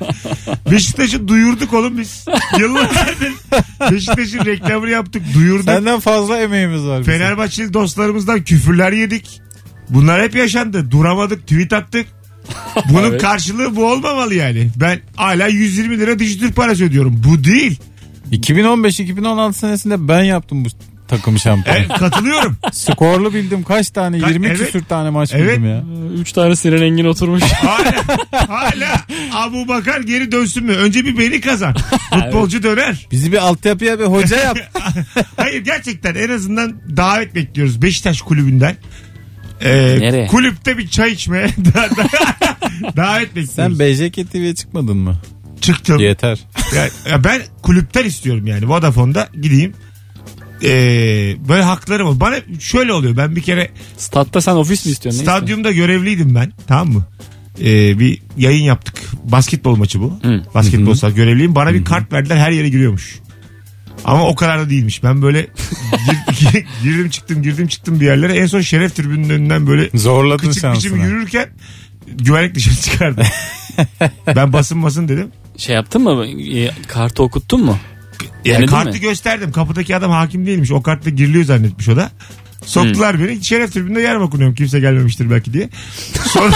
Beşiktaş'ı duyurduk oğlum biz. Yıllardır Beşiktaş'ın reklamını yaptık, duyurduk.
Senden fazla emeğimiz var. bizim.
Fenerbahçeli dostlarımızdan küfürler yedik. Bunlar hep yaşandı. Duramadık, tweet attık. Bunun
Evet.
karşılığı bu olmamalı yani. Ben hala 120 lira dijitür parası ödüyorum. Bu değil.
2015-2016 senesinde ben yaptım bu takım şampiyon.
E, katılıyorum.
Skorlu bildim kaç tane?
Ka-
20
evet.
küsür tane maç
Evet.
bildim ya.
Üç tane siren engin oturmuş.
Hala, hala Abu Bakar geri dönsün mü? Önce bir beni kazan. Futbolcu döner.
Bizi bir altyapıya bir hoca yap.
Hayır gerçekten en azından davet bekliyoruz Beşiktaş kulübünden. Ee,
Nereye?
Kulüpte bir çay içmeye da- da- davet bekliyoruz.
Sen BJK TV'ye çıkmadın mı?
Çıktım.
Yeter.
Ya, ya ben kulüpten istiyorum yani Vodafone'da gideyim. Ee, böyle haklarım var. Bana şöyle oluyor ben bir kere
Statta sen ofis mi istiyorsun? Neyse.
stadyumda görevliydim ben tamam mı? Ee, bir yayın yaptık. Basketbol maçı bu.
Hı.
Basketbol sahası görevliyim. Bana bir kart verdiler her yere giriyormuş. Ama o kadar da değilmiş. Ben böyle gir- girdim çıktım girdim çıktım bir yerlere. En son şeref tribünün önünden böyle
Zorladın
kıçık biçim
şansını.
yürürken güvenlik dışarı çıkardı. ben basın basın dedim.
Şey yaptın mı? E, kartı okuttun mu?
Yani
Denedin
kartı
mi?
gösterdim. Kapıdaki adam hakim değilmiş. O kartla giriliyor zannetmiş o da. Soktular beni. Şeref tribünde yer okunuyorum. Kimse gelmemiştir belki diye. Sonra,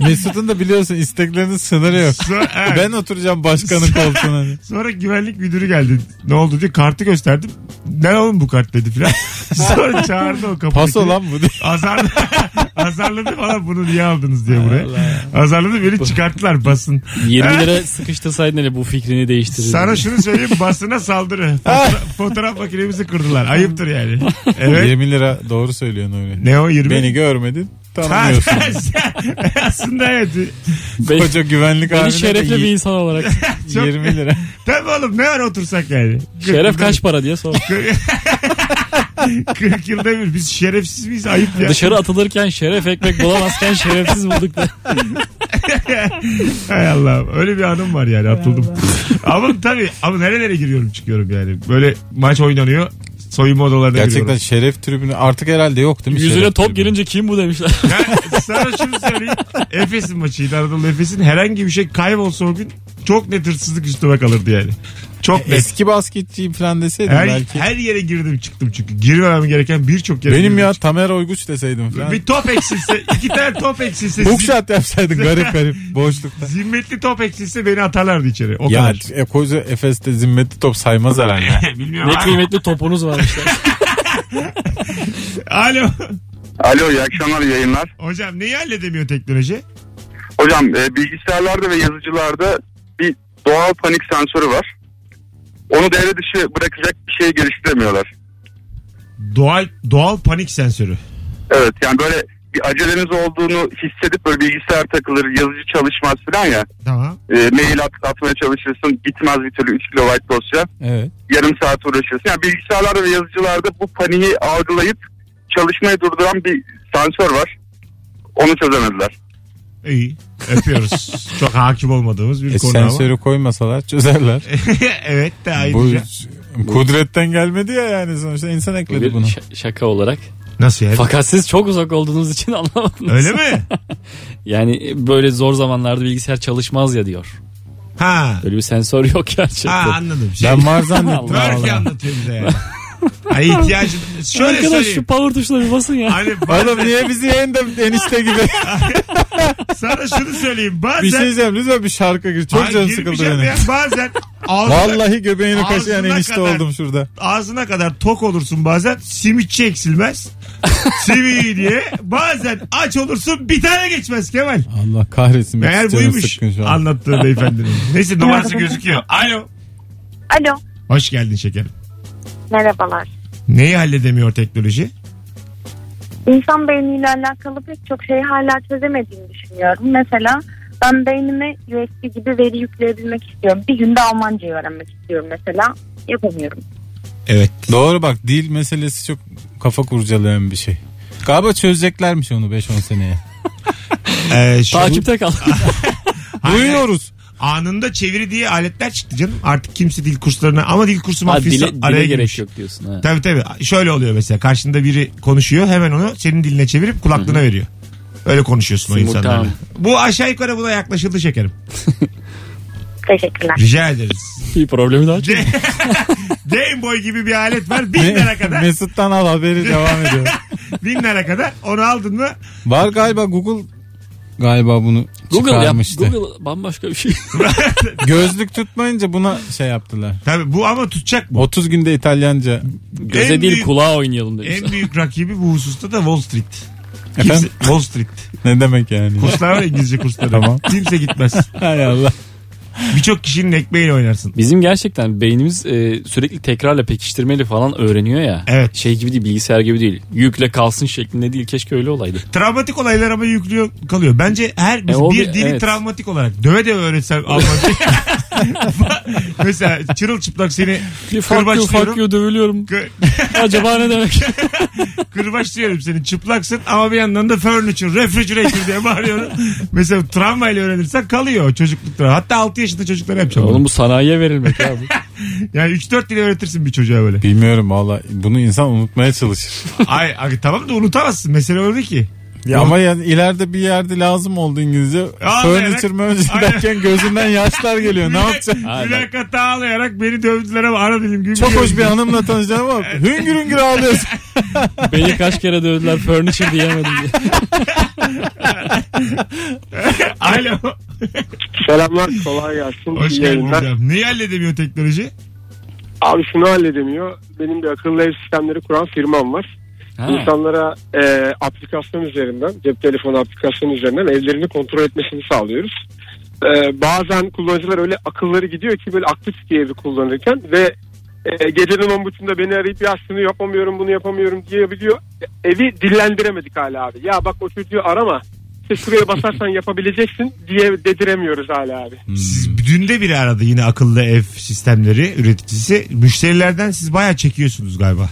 Mesut'un da biliyorsun isteklerinin sınırı yok.
sonra, evet.
Ben oturacağım başkanın koltuğuna.
Sonra güvenlik müdürü geldi. Ne oldu diye kartı gösterdim. Ne oğlum bu kart dedi filan. Sonra çağırdı o kapıdaki.
Paso lan bu.
Azarladı, azarladı falan bunu niye aldınız diye buraya. Azarladı beni çıkarttılar basın.
20 lira sıkıştırsaydın hele bu fikrini değiştirirdin.
Sana şunu söyleyeyim basına saldırı. Fotoğraf, fotoğraf makinemizi kırdılar. Ayıptır yani. Evet.
20 lira doğru söylüyorsun öyle.
Ne o 20?
Beni görmedin
Ha,
tanımıyorsun.
Aslında evet.
Beni-
Koca güvenlik
Beni
amiri de
şerefli bir insan olarak.
Çok-
20 lira.
Tabii oğlum ne var otursak yani.
Şeref kaç para diye sor.
40 yılda bir biz şerefsiz miyiz ayıp ya.
Dışarı atılırken şeref ekmek bulamazken şerefsiz bulduk da.
Hay Allah'ım öyle bir anım var yani atıldım. ama tabii ama nerelere giriyorum çıkıyorum yani. Böyle maç oynanıyor soyunma odalarına
Gerçekten
giriyorum.
şeref tribünü artık herhalde yok değil mi?
Yüzüne
şeref
top
tribünü?
gelince kim bu demişler.
Ben sana şunu söyleyeyim. Efes'in maçıydı Anadolu Efes'in. Herhangi bir şey kaybolsa o gün çok net hırsızlık üstüme kalırdı yani. Çok net.
Eski basketçiyim falan deseydin
Her,
belki.
her yere girdim çıktım çünkü. Girmemem gereken birçok yere
Benim
girdim
ya
çıktım.
Tamer Oyguç deseydim falan.
Bir top eksilse, iki tane top eksilse,
Hook
zim-
shot yapsaydın garip garip boşlukta.
zimmetli top eksilse beni atarlardı içeri. O
Ya
kadar.
e, koca Efes'te zimmetli top saymaz herhalde.
Bilmiyorum.
ne kıymetli topunuz var işte.
Alo.
Alo iyi akşamlar iyi yayınlar.
Hocam neyi halledemiyor teknoloji?
Hocam e, bilgisayarlarda ve yazıcılarda bir doğal panik sensörü var. Onu devre dışı bırakacak bir şey geliştiremiyorlar.
Doğal doğal panik sensörü.
Evet yani böyle bir aceleniz olduğunu hissedip böyle bilgisayar takılır, yazıcı çalışmaz falan ya.
Tamam.
E, mail at, atmaya çalışırsın gitmez bir türlü 3 kilobayt dosya.
evet.
Yarım saat uğraşırsın. Yani bilgisayarlarda ve yazıcılarda bu paniği algılayıp çalışmayı durduran bir sensör var. Onu çözemediler.
İyi. Öpüyoruz. Çok hakim olmadığımız bir
E,
konu ama.
sensörü koymasalar çözerler.
evet de şey.
Bu
ayrıca.
kudretten gelmedi ya yani sonuçta insan ekledi bunu.
Ş- şaka olarak.
Nasıl yani?
Fakat siz çok uzak olduğunuz için anlamadınız.
Öyle mi?
Yani böyle zor zamanlarda bilgisayar çalışmaz ya diyor.
Ha.
Öyle bir sensör yok
Ha
gerçekten.
anladım. Şey,
Ben var zannettim.
Allah
Twerk
vallahi.
anlatıyor bize yani. Ay ihtiyacın. Şöyle
Arkadaş
söyleyeyim.
şu power tuşuna bir basın ya.
Hani
Oğlum niye bizi yeniden enişte gibi?
sana şunu söyleyeyim. Bazen.
bir şey diyeceğim lütfen bir şarkı gir. Çok
Ay,
canım
girmeyeceğim
sıkıldı benim.
ya. Bazen ağzına,
Vallahi göbeğini kaşıyan
Ağzına
enişte
kadar.
oldum şurada.
ağzına kadar tok olursun bazen. Simitçi eksilmez. Simi diye. Bazen aç olursun bir tane geçmez Kemal.
Allah kahretsin. benim
Meğer
canım
buymuş
sıkkın şu an.
anlattığı beyefendinin. Neyse numarası gözüküyor. Alo.
Alo.
Hoş geldin şekerim.
Merhabalar.
Neyi halledemiyor teknoloji?
İnsan beyniyle alakalı pek çok şeyi hala çözemediğimi düşünüyorum. Mesela ben beynime USB gibi veri yükleyebilmek istiyorum. Bir günde Almancayı öğrenmek istiyorum mesela. Yapamıyorum.
Evet.
Doğru bak dil meselesi çok kafa kurcalayan bir şey. Galiba çözeceklermiş onu 5-10 seneye.
Ee, şu,
Takipte kal.
Hayır,
Duyuyoruz.
Anında çeviri diye aletler çıktı canım. Artık kimse dil kurslarına ama dil kursu
Ha,
mafyası
dile, dile
araya
gerek
girmiş.
yok diyorsun. Ha.
Tabii tabii. Şöyle oluyor mesela karşında biri konuşuyor hemen onu senin diline çevirip kulaklığına veriyor. Öyle konuşuyorsun o
Simultan.
insanlarla. Bu aşağı yukarı buna yaklaşıldı şekerim.
Teşekkürler.
Rica ederiz.
Bir problemi daha çok.
Game Boy gibi bir alet var. Bin lira
Me-
kadar.
Mesut'tan al haberi devam ediyor.
Bin lira kadar. Onu aldın mı?
Var galiba Google galiba bunu
Google yap.
çıkarmıştı.
Google bambaşka bir şey.
Gözlük tutmayınca buna şey yaptılar.
Tabii bu ama tutacak bu.
30 günde İtalyanca.
Göze
En
değil
büyük-
kulağa oynayalım demişler.
En büyük rakibi bu hususta da Wall Street. Kimse,
Efendim?
Wall Street.
Ne demek yani?
Kurslar var ya, İngilizce kursları.
Tamam.
Kimse gitmez.
Hay Allah.
Birçok kişinin ekmeğiyle oynarsın.
Bizim gerçekten beynimiz e, sürekli tekrarla pekiştirmeli falan öğreniyor ya.
Evet.
Şey gibi değil bilgisayar gibi değil. Yükle kalsın şeklinde değil keşke öyle olaydı.
Travmatik olaylar ama yüklüyor kalıyor. Bence her mesela
E, o
bir
bir-
dili
evet.
travmatik olarak döve döve öğretsem Almanca. mesela çırılçıplak seni
Bir fuck you fuck
kırbaçlıyorum.
you dövülüyorum.
Kı-
Acaba ne demek?
Kırbaçlıyorum seni çıplaksın ama bir yandan da furniture, refrigerator diye bağırıyorum. Mesela travmayla öğrenirsen kalıyor o çocukluk travma. Hatta 6 yaşında çocuklara yapacağım.
Oğlum
bunu.
bu sanayiye verilmek abi.
Yani 3-4 dil öğretirsin bir çocuğa böyle.
Bilmiyorum valla. Bunu insan unutmaya çalışır.
Ay, ay, tamam da unutamazsın. Mesele öyle ki.
Ya ama yani ileride bir yerde lazım oldu İngilizce.
Ağlayarak-
Furniture manager
Aynen.
derken gözünden yaşlar geliyor. Ne yapacaksın?
Mülakatta ağlayarak beni dövdüler ama ana dilim gibi.
Çok
şey.
hoş bir hanımla tanışacağım ama hüngür hüngür ağlıyorsun.
Beni kaç kere dövdüler furniture diyemedim diye.
Alo.
Selamlar kolay gelsin.
Hoş
İyi
geldin
yayınlar.
hocam. Neyi halledemiyor teknoloji?
Abi şunu halledemiyor. Benim de akıllı ev sistemleri kuran firmam var.
Ha.
İnsanlara e, aplikasyon üzerinden, cep telefonu aplikasyonu üzerinden evlerini kontrol etmesini sağlıyoruz. E, bazen kullanıcılar öyle akılları gidiyor ki böyle aktif diye evi kullanırken ve e, gecenin 10.30'da beni arayıp ya şunu yapamıyorum bunu yapamıyorum diyebiliyor. E, Evi dillendiremedik hala abi. Ya bak o çocuğu arama. İşte şuraya basarsan yapabileceksin diye dediremiyoruz hala abi.
Hmm.
Siz, dün de biri aradı yine akıllı ev sistemleri üreticisi. Müşterilerden siz bayağı çekiyorsunuz galiba.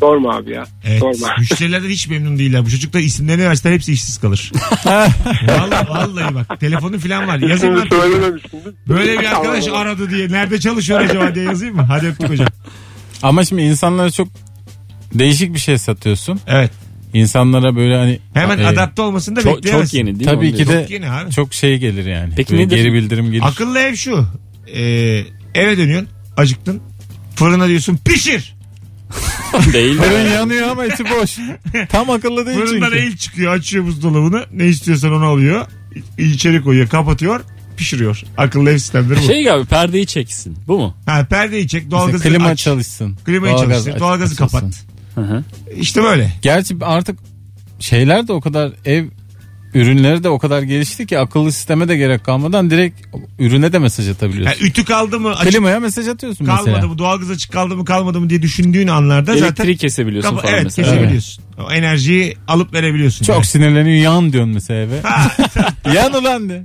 Sorma abi ya.
Evet.
Sorma.
Müşterilerden hiç memnun değiller. Bu çocuklar isimlerini verseler hepsi işsiz kalır. vallahi, vallahi bak. Telefonu falan var. Yazayım lan.
Şimdi söylememişsin.
Böyle bir arkadaş
Tamam.
aradı diye. Nerede çalışıyor acaba diye yazayım mı? Hadi öptük hocam.
Ama şimdi insanlara çok değişik bir şey satıyorsun.
Evet.
İnsanlara böyle hani
Hemen
e,
adapte olmasını da
Çok,
bekleyemezsin.
çok yeni değil mi?
Tabii ki
Onu diyorum.
de
Çok yeni abi.
çok şey gelir yani.
Peki
Böyle
nedir?
geri bildirim gelir.
Akıllı ev şu. Ee, eve dönüyorsun. Acıktın. Fırına diyorsun pişir.
değil.
Fırın yanıyor ama içi boş. Tam akıllı değil
Fırından
çünkü.
el çıkıyor. Açıyor buzdolabını. Ne istiyorsan onu alıyor. İ- İçeri koyuyor. Kapatıyor. Pişiriyor. Akıllı ev sistemleri bu.
Şey abi perdeyi çeksin. Bu mu?
Ha, perdeyi çek.
Mesela
Doğalgazı
klima
aç.
çalışsın.
Klimayı
Doğalgaz
çalıştır.
aç-
Doğalgazı
açılsın.
kapat.
Hı hı.
İşte böyle.
Gerçi artık şeyler de o kadar ev ürünleri de o kadar gelişti ki akıllı sisteme de gerek kalmadan direkt ürüne de mesaj
Ha,
atabiliyorsun.
ütü kaldı mı? Açık
Klimaya mesaj atıyorsun
kalmadı
mesela.
mı? Doğalgaz açık kaldı mı kalmadı mı diye düşündüğün anlarda zaten
Elektriği kesebiliyorsun
Kapa-
falan
evet
mesela.
kesebiliyorsun. O enerjiyi alıp verebiliyorsun.
Çok
yani.
sinirleniyor yan diyorsun mesela eve. yan ulan de.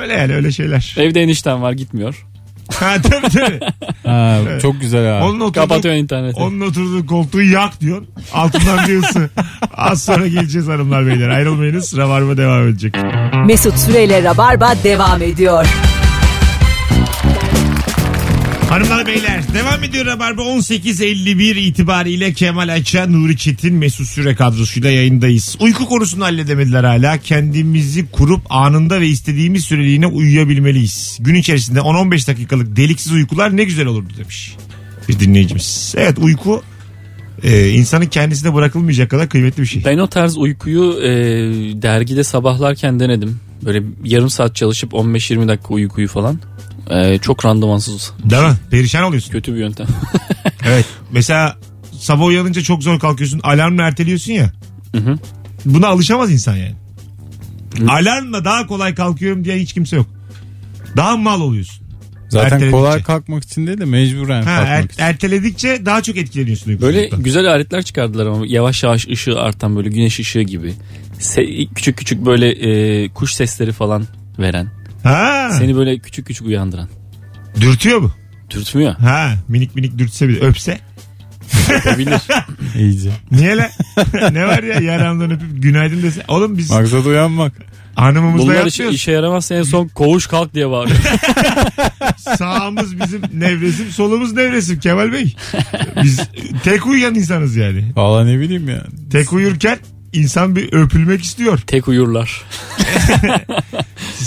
Öyle yani öyle şeyler.
Evde enişten var gitmiyor.
ha tabii tabii.
Ha, Çok güzel abi.
Onun oturduğu,
Kapatıyor interneti.
onun oturduğu koltuğu yak diyorsun. Altından diyorsun. Az sonra geleceğiz hanımlar beyler. Ayrılmayınız. Rabarba devam edecek.
Mesut Süreyle Rabarba devam ediyor.
Hanımlar beyler devam ediyor Rabarba 18.51 itibariyle Kemal Ayça, Nuri Çetin, Mesut Süre kadrosuyla yayındayız. Uyku konusunu halledemediler hala. Kendimizi kurup anında ve istediğimiz süreliğine uyuyabilmeliyiz. Gün içerisinde 10-15 dakikalık deliksiz uykular ne güzel olurdu demiş bir dinleyicimiz. Evet uyku e, insanın kendisine bırakılmayacak kadar kıymetli bir şey.
Ben o tarz uykuyu e, dergide sabahlarken denedim. Böyle yarım saat çalışıp 15-20 dakika uykuyu falan. E, çok randımansız.
Değil mi? Perişan oluyorsun.
Kötü bir yöntem.
Evet. Mesela sabah uyanınca çok zor kalkıyorsun. Alarmla erteliyorsun ya.
hı.
Buna alışamaz insan yani. Alarmla daha kolay kalkıyorum diye hiç kimse yok. Daha mal oluyorsun.
Zaten
erteledikçe.
kolay kalkmak için değil de mecburen
Ha, er-
kalkmak için.
erteledikçe daha çok etkileniyorsun.
Böyle
uykusuzluktan.
güzel aletler çıkardılar ama yavaş yavaş ışığı artan böyle güneş ışığı gibi. Se- küçük küçük böyle e, kuş sesleri falan veren.
ha,
Seni böyle küçük küçük uyandıran.
dürtüyor mu?
Dürtmüyor.
Ha, minik minik dürtse bir öpse.
Yapabilir.
er-
İyice.
Niye lan? ne var ya yaramdan öpüp günaydın dese. Oğlum biz
Maksat uyanmak.
hanımımızla
Bunlar işe,
yatmıyoruz.
işe yaramazsa en son koğuş kalk diye bağırıyor.
Sağımız bizim nevresim, solumuz nevresim Kemal Bey. Biz tek uyuyan insanız yani.
Valla ne bileyim ya.
Tek uyurken insan bir öpülmek istiyor.
Tek uyurlar.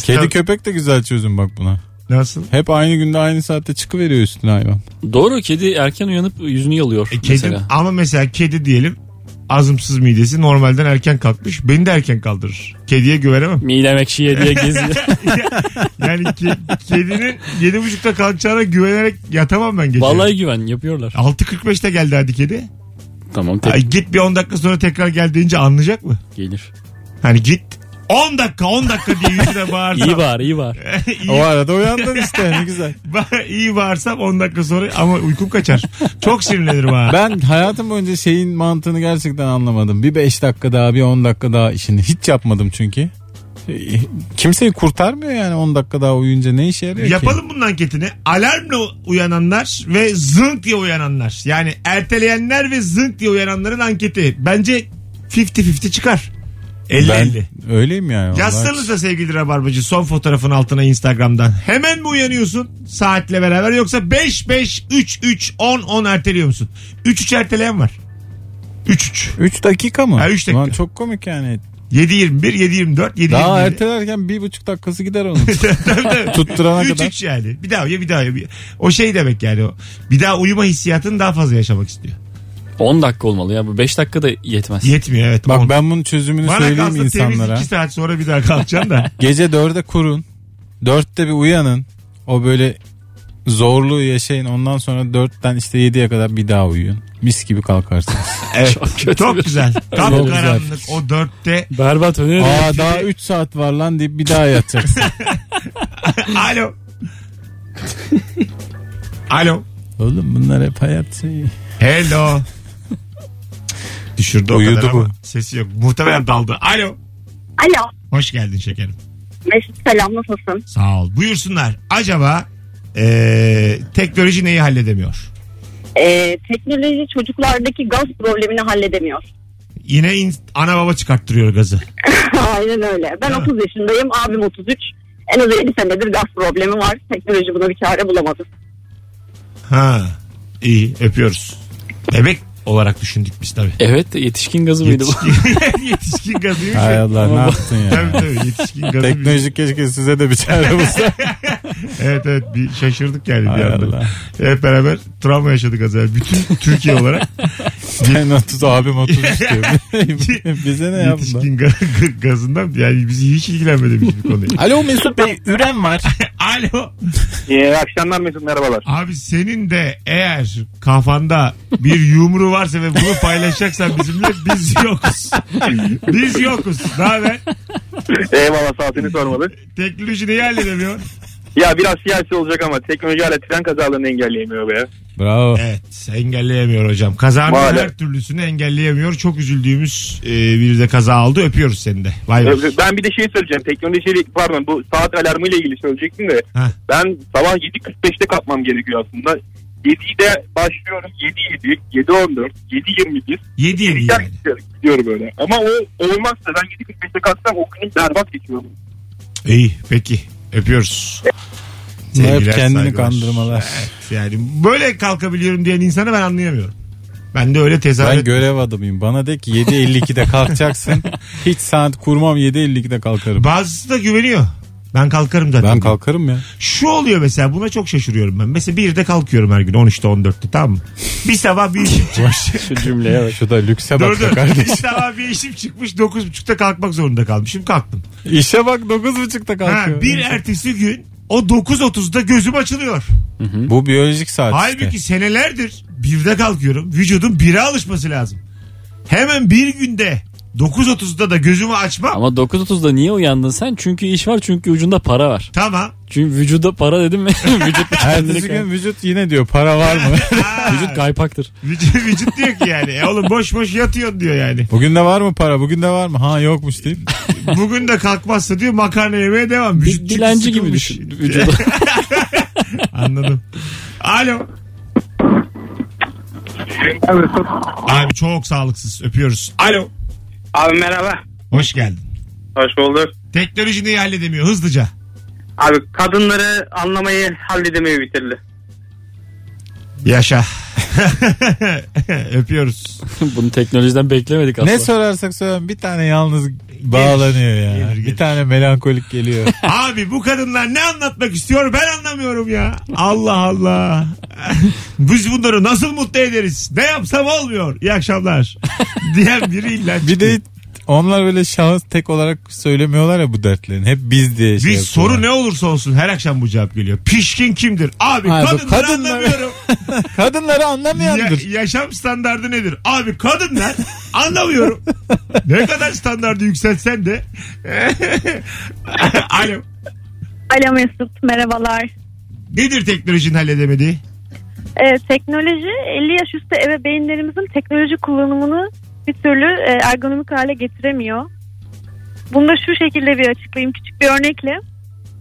Kedi köpek de güzel çözüm bak buna.
Nasıl?
Hep aynı günde aynı saatte çıkıveriyor üstüne hayvan.
Doğru kedi erken uyanıp yüzünü yalıyor
E, kedi,
mesela.
Ama mesela kedi diyelim azımsız midesi normalden erken kalkmış. Beni de erken kaldırır. Kediye güvenemem.
Midem ekşiye diye geziyor.
Yani ke- kedinin yedi buçukta kalkacağına güvenerek yatamam ben gece.
Vallahi güven yapıyorlar.
6.45'te geldi hadi kedi.
Tamam
Ay
tek
git bir 10 dakika sonra tekrar geldiğince anlayacak mı?
gelir.
Hani git 10 dakika 10 dakika diye yüzüne bağırsam.
İyi var iyi var.
iyi,
O arada uyandın işte ne güzel.
ba- iyi bağırsam 10 dakika sonra ama uykum kaçar. Çok sinirlenirim ha.
Ben hayatım boyunca şeyin mantığını gerçekten anlamadım. Bir 5 dakika daha bir 10 dakika daha işini hiç yapmadım çünkü. Kimseyi kurtarmıyor yani 10 dakika daha uyuyunca ne işe yarıyor ki?
Yapalım bunun anketini. Alarmla uyananlar ve zınk diye uyananlar. Yani erteleyenler ve zınk diye uyananların anketi. Bence 50-50 çıkar. 50-50.
Ben öyleyim yani. vallahi.
Yazsanız da sevgili Rabarbacı son fotoğrafın altına Instagram'dan. Hemen mi uyanıyorsun saatle beraber yoksa 5 5 3 3 10 10 erteliyor musun? 3 3 erteleyen var. 3 3.
3 dakika mı?
Ha, üç dakika.
Ulan çok komik yani.
7 21 7 24 7
Daha
27.
ertelerken bir buçuk dakikası gider onun. Tutturana
3
kadar.
3 yani. Bir daha uyu bir daha uyu. Bir- O şey demek yani o. Bir daha uyuma hissiyatını daha fazla yaşamak istiyor.
10 dakika olmalı ya bu 5 dakika da yetmez.
Yetmiyor evet.
Bak
On.
ben bunun çözümünü
Bana
söyleyeyim
kalsa
insanlara.
temiz 2 saat sonra bir daha kalkacaksın da.
Gece dörde kurun. Dörtte bir uyanın. O böyle zorluğu yaşayın. Ondan sonra dörtten işte yediye kadar bir daha uyuyun. Mis gibi kalkarsınız.
Evet.
Çok kötü.
Çok güzel. Tam
güzel.
karanlık o dörtte.
Berbat öneririm.
Aa daha 3 saat var lan deyip bir daha yatacaksın.
Alo. Alo.
Oğlum bunlar hep hayat şeyi.
Hello. Düşürdü o
Uyudu
kadar
bu.
ama sesi yok. Muhtemelen daldı. Alo.
Alo.
Hoş geldin şekerim.
Mesut selam nasılsın?
Sağ ol. Buyursunlar. Acaba eee, teknoloji neyi halledemiyor?
Ee, teknoloji çocuklardaki gaz problemini halledemiyor.
Yine in- ana baba çıkarttırıyor gazı.
Aynen öyle. Ben
Değil mi?
30 yaşındayım. Abim 33. En az 50 senedir gaz problemi var. Teknoloji buna bir çare bulamadı.
Ha. İyi öpüyoruz. Bebek olarak düşündük biz tabii.
Evet de yetişkin gazı mıydı bu?
Yetişkin, yetişkin gazıymış.
Hay Allah ne yaptın
Tabii
ya.
tabii yetişkin gazı.
Teknoloji keşke size de bir çare bulsa.
Evet evet bir şaşırdık yani bir
Hay
anda.
Allah.
Hep beraber travma yaşadık az evvel. Bütün Türkiye olarak
Ben 30 abim 30 istiyor. Bize ne ya bundan?
yetişkin ga- gazından yani bizi hiç ilgilenmedi biz bu konuya.
Alo Mesut Bey üren var.
Alo.
İyi akşamlar Mesut merhabalar.
Abi senin de eğer kafanda bir yumru varsa ve bunu paylaşacaksan bizimle biz yokuz. Biz yokuz. Ne haber?
Eyvallah saatini sormalı.
Teknoloji neyi halledemiyor?
Ya biraz siyasi olacak ama teknoloji hala tren kazalarını engelleyemiyor be.
Bravo.
Evet engelleyemiyor hocam. Kazanın
Maalesef.
her türlüsünü engelleyemiyor. Çok üzüldüğümüz e, bir de kaza oldu. Öpüyoruz seni de. Vay vay.
Ben bir de şey söyleyeceğim. Teknolojiyle pardon bu saat alarmıyla ilgili söyleyecektim de.
Heh.
Ben sabah 7.45'te kalkmam gerekiyor aslında. 7'de başlıyorum. 7.7, 7.14, 7.21.
7 yedi yani.
Gidiyorum, gidiyorum öyle. Ama o olmazsa ben 7.45'te kalksam o günüm berbat geçiyor.
İyi peki. Öpüyoruz.
Bunlar hep
Sevgiler,
kendini
saygılar.
kandırmalar.
Evet, yani böyle kalkabiliyorum diyen insanı ben anlayamıyorum. Ben de öyle tezahürat.
Ben görev adamıyım. Bana de ki 7.52'de kalkacaksın. Hiç saat kurmam 7.52'de kalkarım.
Bazısı da güveniyor. Ben kalkarım zaten.
Ben kalkarım ya.
Şu oluyor mesela buna çok şaşırıyorum ben. Mesela bir de kalkıyorum her gün 13'te 14'te tamam mı? Bir sabah bir işim çıkmış.
Şu cümleye bak.
Şu da lükse
dur
bak be
dur. Bir
kardeşim.
sabah bir işim çıkmış 9.30'da kalkmak zorunda kalmışım kalktım.
İşe bak 9.30'da
Ha,
kalkıyor.
bir ertesi gün o 9.30'da gözüm açılıyor.
Bu biyolojik saat
Halbuki
işte.
senelerdir birde kalkıyorum. Vücudun bire alışması lazım. Hemen bir günde 9.30'da da gözümü açmam.
Ama 9.30'da niye uyandın sen? Çünkü iş var çünkü ucunda para var.
Tamam.
Çünkü vücuda para dedim mi? vücut bir kendini
Ertesi gün vücut yine diyor para var mı?
Aa,
Vücut kaypaktır.
vücut, vücut diyor ki yani. E oğlum boş boş yatıyorsun diyor yani.
Bugün de var mı para? Bugün de var mı? Ha yokmuş deyip.
Bugün de kalkmazsa diyor makarna yemeye devam. Vücut
Bir
çünkü
dilenci gibi
sıkılmış.
düşün. Vücuda.
Anladım. Alo.
Evet.
Abi çok sağlıksız. Öpüyoruz. Alo.
Abi merhaba.
Hoş geldin.
Hoş bulduk.
Teknoloji neyi halledemiyor hızlıca?
Abi kadınları anlamayı halledemeyi bitirdi.
Yaşa. Öpüyoruz.
Bunu teknolojiden beklemedik aslında.
Ne sorarsak soralım bir tane yalnız bağlanıyor ya.
gelir, gelir.
Bir tane melankolik geliyor.
Abi bu kadınlar ne anlatmak istiyor ben anlamıyorum ya. Allah Allah. Biz bunları nasıl mutlu ederiz? Ne yapsam olmuyor. İyi akşamlar. Diyen biri illa
bir de
çıkıyor.
onlar böyle şahıs tek olarak söylemiyorlar ya bu dertlerini. Hep biz diye şey
Bir soru
yapıyorlar.
ne olursa olsun her akşam bu cevap geliyor. Pişkin kimdir? Abi
Abi
kadınları
kadınlar-
anlamıyorum.
Kadınları
Ya-
anlamayandır.
yaşam standardı nedir? Abi kadınlar anlamıyorum. ne kadar standardı yükseltsen de. Alo.
Alo Mesut merhabalar.
Nedir teknolojinin halledemediği?
Ee, teknoloji 50 yaş üstü ebeveynlerimizin teknoloji kullanımını bir türlü e, ergonomik hale getiremiyor. Bunu da şu şekilde bir açıklayayım küçük bir örnekle.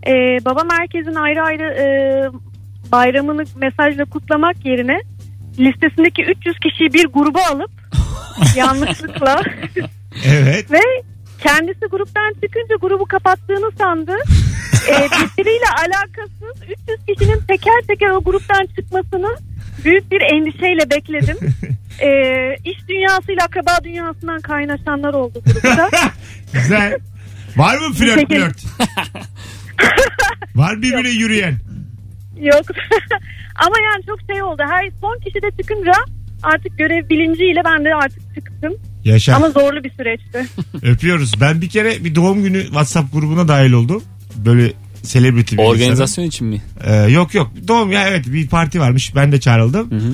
Ee, babam herkesin ayrı ayrı e, bayramını mesajla kutlamak yerine listesindeki 300 kişiyi bir gruba alıp yanlışlıkla
Evet.
ve kendisi gruptan çıkınca grubu kapattığını sandı. Ee, birbiriyle alakasız 300 kişinin teker teker o gruptan çıkmasını büyük bir endişeyle bekledim. Ee, iş dünyasıyla akraba dünyasından kaynaşanlar oldu grupta.
Güzel. Var mı flört
Peki.
flört? Var birbirine yürüyen.
Yok. Ama yani çok şey oldu. Her son kişi de çıkınca artık görev bilinciyle ben de artık çıktım.
Yaşa.
Ama zorlu bir süreçti.
Öpüyoruz. Ben bir kere bir doğum günü WhatsApp grubuna dahil oldum. Böyle celebrity bir insanım.
Organizasyon için mi?
Ee, yok yok. Doğum ya evet bir parti varmış. Ben de çağrıldım.
Hı hı.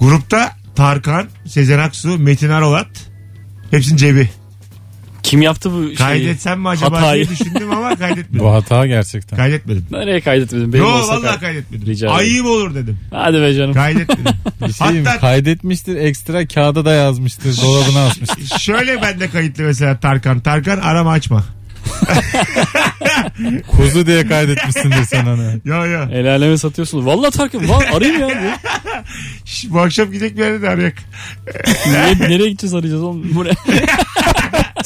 Grupta Tarkan, Sezen Aksu, Metin Arolat. Hepsinin cebi.
Şey, Kim yaptı bu şeyi?
Kaydetsem mi acaba
Hatayı.
diye düşündüm ama kaydetmedim.
Bu hata gerçekten.
kaydetmedim.
Nereye kaydetmedin? Benim
Yo
olsa
vallahi
kay-
kaydetmedim.
Rica ederim.
Ayıp olur dedim.
Hadi be canım.
Kaydetmedim.
Bir şey mi?
Hatta-
Kaydetmiştir ekstra kağıda da yazmıştır. Dolabına asmıştır.
Şöyle bende kayıtlı mesela Tarkan. Tarkan arama açma.
Kuzu diye kaydetmişsindir sen onu.
Yo yo.
El aleme satıyorsun. Valla Tarkan var arayayım ya. diye.
Şş, bu akşam gidecek bir yere de arayak.
Niye, nereye gideceğiz arayacağız oğlum? Bu ne?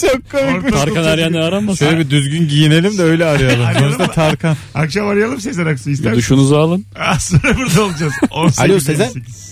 Çok komik.
Ortaokul
Tarkan
çocuğu.
arayanı aramasın.
Şöyle bir düzgün giyinelim de öyle arayalım.
Arayalım
Sonuçta
mı?
Tarkan.
Akşam arayalım Sezen Aksu ister
Bir
misin?
Duşunuzu alın.
Az sonra burada olacağız. 18,
Alo Sezen.
58.